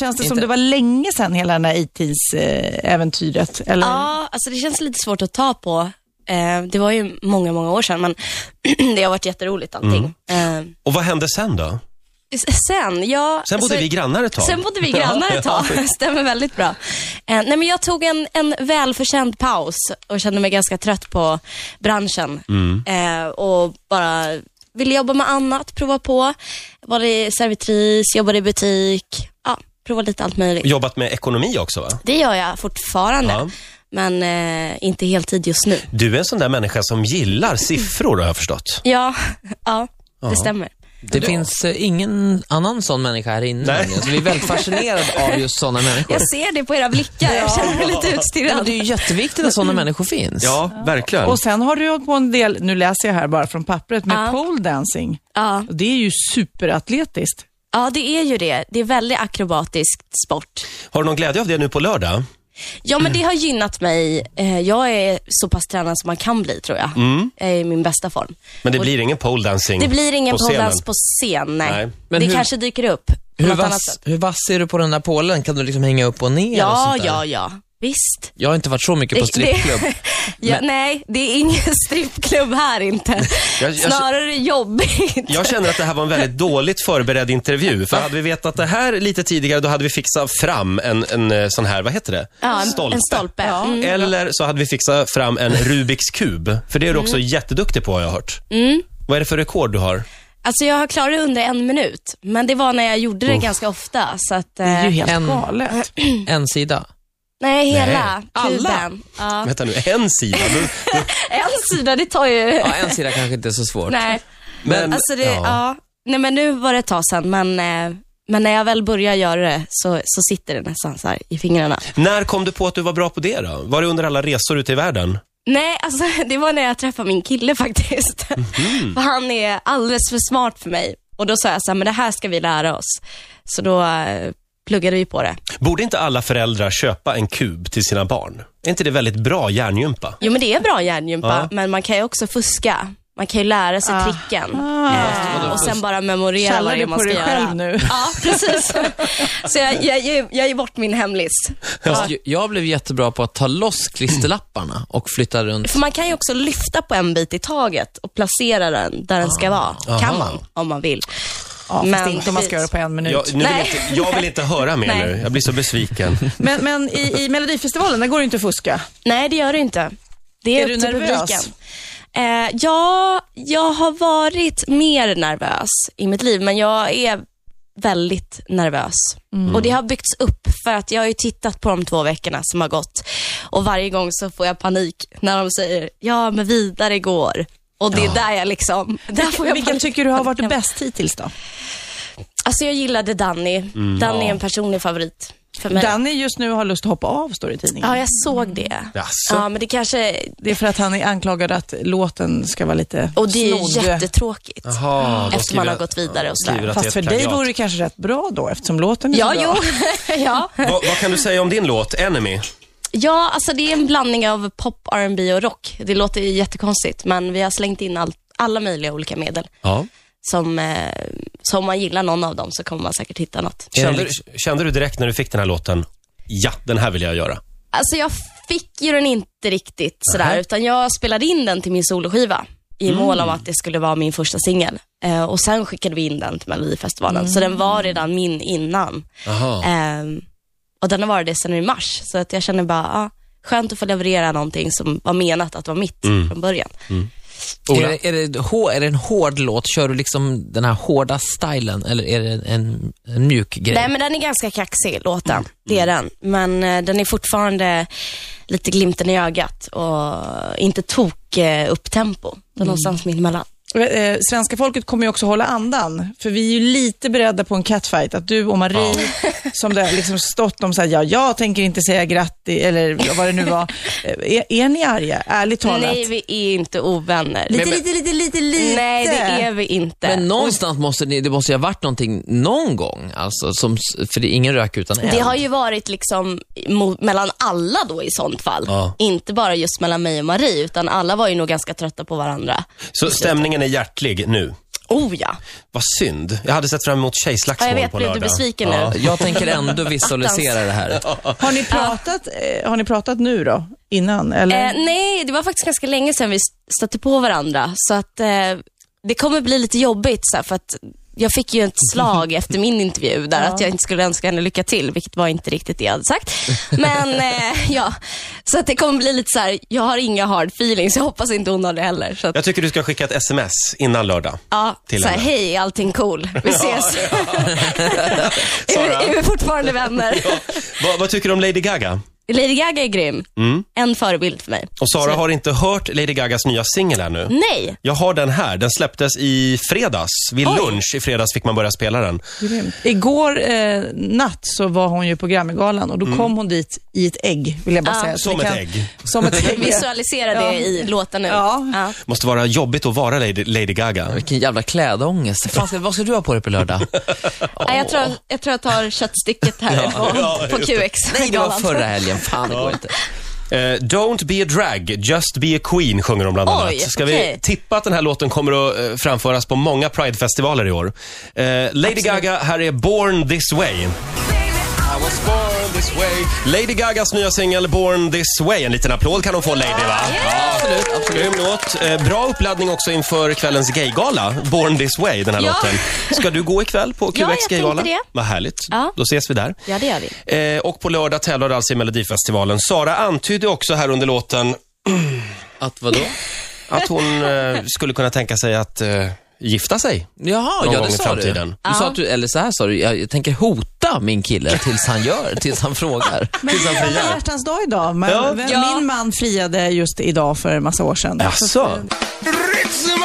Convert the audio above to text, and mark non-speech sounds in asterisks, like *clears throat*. Känns det som Inte. det var länge sedan hela den här 80s-äventyret? eh, Eller? Ja, alltså det känns lite svårt att ta på. Eh, det var ju många, många år sedan, men *clears throat* det har varit jätteroligt Mm. allting. Eh, Och vad hände sen då? s- sen, ja... Sen bodde alltså- vi grannar ett tag. *laughs* Sen bodde vi grannar ett tag. *laughs* Stämmer väldigt bra. Eh, nej, men jag tog en, en välförtjänt paus och kände mig ganska trött på branschen. Mm. Eh, och bara ville jobba med annat, prova på. Var det servitris, jobbade i butik. Ja, prova lite allt möjligt. Jobbat med ekonomi också va? Det gör jag fortfarande, Ja. men eh, inte heltid just nu. Du är en sån där människa som gillar siffror har jag förstått. Ja, ja det stämmer. Det finns eh, ingen annan sån människa här inne. Nej. nämligen, Så vi är väldigt fascinerade av just sådana människor. Jag ser det på era blickar. Jag känner mig lite Nej, men utstirrad. det är ju jätteviktigt att sådana människor finns. verkligen. Och sen har du hållit på en del, nu läser jag här bara från pappret, med Ja. pole dancing. Ja. Och Det är ju superatletiskt. ja, det är ju det. Det är väldigt akrobatisk sport. Har du någon glädje av det nu på lördag? Ja, men det har gynnat mig. Eh, Jag är så pass tränad som man kan bli, tror jag. Mm. Jag är i min bästa form. Men det blir ingen pole dancing Det blir ingen på scenen. poledance på scen, nej. Nej. Men det hur- kanske dyker upp på Hur något annat vass, sätt. hur vass är du på den där pålen? Kan du liksom hänga upp och ner och Ja, sånt där? ja, ja. Visst. Jag har inte varit så mycket på Det- det- strippklubb. *laughs* Ja, Men- Nej, det är ingen *laughs* strippklubb här inte. Jag- jag- Snarare jobbigt. Jag känner att det här var en väldigt dåligt förberedd intervju. För hade vi vetat det här lite tidigare, då hade vi fixat fram en, en eh, sån här, vad heter det? Ja, en stolpe. En stolpe. Mm. Eller så hade vi fixat fram *laughs* en Rubiks kub. För det är du också Mm. jätteduktig på har jag hört. Vad är det för rekord du har? Alltså jag har klarat det under en minut, men det var när jag gjorde det ganska ofta. Så att, eh, Det är ju helt En- *clears throat* galet. En sida. nej, hela alla. kuben. Ja. Vänta nu, en sida. Du, En sida, det tar ju... Ja, en sida kanske inte är så svårt. Nej. men, Alltså det, ja. Nej men nu var det ett tag sedan, men, eh, men när jag väl börjar göra det så, så sitter det nästan så här i fingrarna. När kom du på att du var bra på det då? Var det under alla resor ute i världen? Nej, alltså *laughs* det var när jag träffade min kille faktiskt. Mhm. För han är alldeles för smart för mig. Och då sa jag så här, men det här ska vi lära oss. Så då eh, pluggade vi på det. Borde inte alla föräldrar köpa en kub till sina barn? Är inte det väldigt bra hjärngympa? Jo men det är bra hjärngympa, Ja. men man kan ju också fuska. Man kan ju lära sig tricken eh, och sen bara memorera Kallar vad det Ah. är du man på ska dig göra. själv nu? Ja, precis. Så jag, jag, jag, jag ger bort min hemlist. Fast ju- jag blev jättebra på att ta loss klisterlapparna och flytta runt. För man kan ju också lyfta på en bit i taget och placera den där den ska vara. Kan man, om man vill. Ja, fast Men- inte om man ska göra det på en minut. Jag, nu vill Nej. inte, jag vill inte höra mer Nej. nu. Jag blir så *laughs* besviken. Men, men i, i Melodifestivalen, där går det ju inte att fuska. Nej, det gör det inte. Det är, Är du upp till nervös? publiken. Eh, ja, jag har varit mer nervös i mitt liv, men jag är väldigt nervös. Mm. Och Det har byggts upp för att jag har ju tittat på de två veckorna som har gått och varje gång så får jag panik när de säger ja, men vidare går. Och det är där *laughs* jag liksom... Där får jag Vilken panik. tycker du har varit bäst hittills då? Alltså jag gillade Danny. Danny är en personlig favorit för mig. Danny just nu har lust att hoppa av, står det i tidningen. ja, jag såg det. Jaså? Ja, men det kanske... Det är för att han är anklagad att låten ska vara lite Och det är snodd. ju jättetråkigt. Mm. Jaha, de Efter man skriver har att- gått vidare och skriver sådär. att det är Fast ett för dig plagiat. vore det kanske rätt bra då, eftersom låten är Ja, så jo. bra. *laughs* ja. Vad, vad kan du säga om din låt, Enemy? ja, alltså det är en blandning av pop, R&B och rock. Det låter ju jättekonstigt, men vi har slängt in all, alla möjliga olika medel. Ja. Som, eh, så om man gillar någon av dem så kommer man säkert hitta något. Kände, du- kände du direkt när du fick den här låten, ja, den här vill jag göra? Alltså jag fick ju den inte riktigt sådär, utan jag spelade in den till min soloskiva i Mm. mål om att det skulle vara min första singel. Eh, och sen skickade vi in den till Melodifestivalen, så den var redan min innan. Aha. Ehm, och den har varit det sedan i mars, så att jag känner bara, ah, skönt att få leverera någonting som var menat att vara mitt från början. Är det, är, det, hå- är det en hård låt? Kör du liksom den här hårda stylen eller är det en, en mjuk grej? Nej men den är ganska kaxig, låten. Det är den. Men eh, den är fortfarande lite glimten i ögat och inte tok eh, upptempo. Det är någonstans mittemellan. Eh, Svenska folket kommer ju också hålla andan, för vi är ju lite beredda på en catfight. Att du och Marie, *laughs* som det har liksom stått om så här, ja, jag tänker inte säga grattis, eller vad det nu var. Eh, Är, är ni arga, ärligt talat? Nej, vi är inte ovänner. Lite, lite, lite, lite, lite. Nej, det är vi inte. Men någonstans måste ni, det måste ju ha varit någonting någon gång, alltså, som, för det är ingen rök utan eld. det har ju varit liksom mo- mellan alla då i sånt fall. Ja. Inte bara just mellan mig och Marie, utan alla var ju nog ganska trötta på varandra. Så stämningen är hjärtlig nu? Oh ja. Vad synd. Jag hade sett fram emot ja jag tjejslagsmål vet, på blev lördag. du besviken nu? Jag tänker ändå visualisera det här. Har ni pratat, eh, har ni pratat nu då? Innan? Eller? Eh, nej, det var faktiskt ganska länge sedan vi stötte på varandra. Så att eh, det kommer bli lite jobbigt så här, för att jag fick ju ett *laughs* slag efter min intervju där att jag inte skulle önska henne lycka till, vilket var inte riktigt det jag hade sagt. Men eh, *laughs* ja, så att det kommer bli lite så här, jag har inga hard feelings, jag hoppas inte hon har det heller. Så att, Jag tycker du ska skicka ett sms innan lördag. ja, till så här, henne. hej, är allting cool, vi ses. *laughs* är, vi, är vi fortfarande vänner? *laughs* *laughs* Vad, vad tycker du om Lady Gaga? Lady Gaga är grym, Mm. en förebild för mig. Och Sara har inte hört Lady Gagas nya singel ännu. Nej, Jag har den här. Den släpptes i fredags. Vid Oj. Alltså, lunch i fredags fick man börja spela den. Grymt. Igår eh, natt så var hon ju på Grammygalan och då Mm. kom hon dit i ett ägg, vill jag bara Ah. säga. Som vi ett ägg. *laughs* Som ett ägg. visualisera det Ja. i låten nu. Ja. Ja. Måste vara jobbigt att vara Lady, Lady Gaga. Vilken jävla klädångest. Fan, ska, vad ska du ha på dig på lördag? Nej, jag, tror, jag tror jag tar köttstycket här på, ja, på just det. QX. Nej, det var förra helgen. Fan, det går inte. Eh, don't be a drag, just be a queen sjunger de bland annat. Oj, Ska vi okej. tippa att den här låten kommer att eh, framföras på många Pride-festivaler i år? Eh, Lady Gaga, här är Born This Way. I was born this way. Lady Gagas nya singel Born This Way. En liten applåd kan hon få, Lady, va? Ja, absolut. absolut. Grym låt. Eh, bra uppladdning också inför kvällens gaygala, Born This Way, den här Ja. låten. Ska du gå ikväll på QX Ja, jag tänkte gaygala? det. Vad härligt. Ja. Då ses vi där. Ja, det gör vi. Eh, och på lördag tävlar du alltså i Melodifestivalen. Sara antydde också här under låten Att vadå? att hon eh, skulle kunna tänka sig att eh, gifta sig. Jaha, Någon ja gång det i sa du. framtiden. Du sa att du, eller så här sa du, jag tänker hota min kille tills han gör, tills han frågar. Men det är alla hjärtans dag idag. Men Ja. vem- Ja. Min man friade just idag för en massa år sedan. Jaså? Ritzemorgon!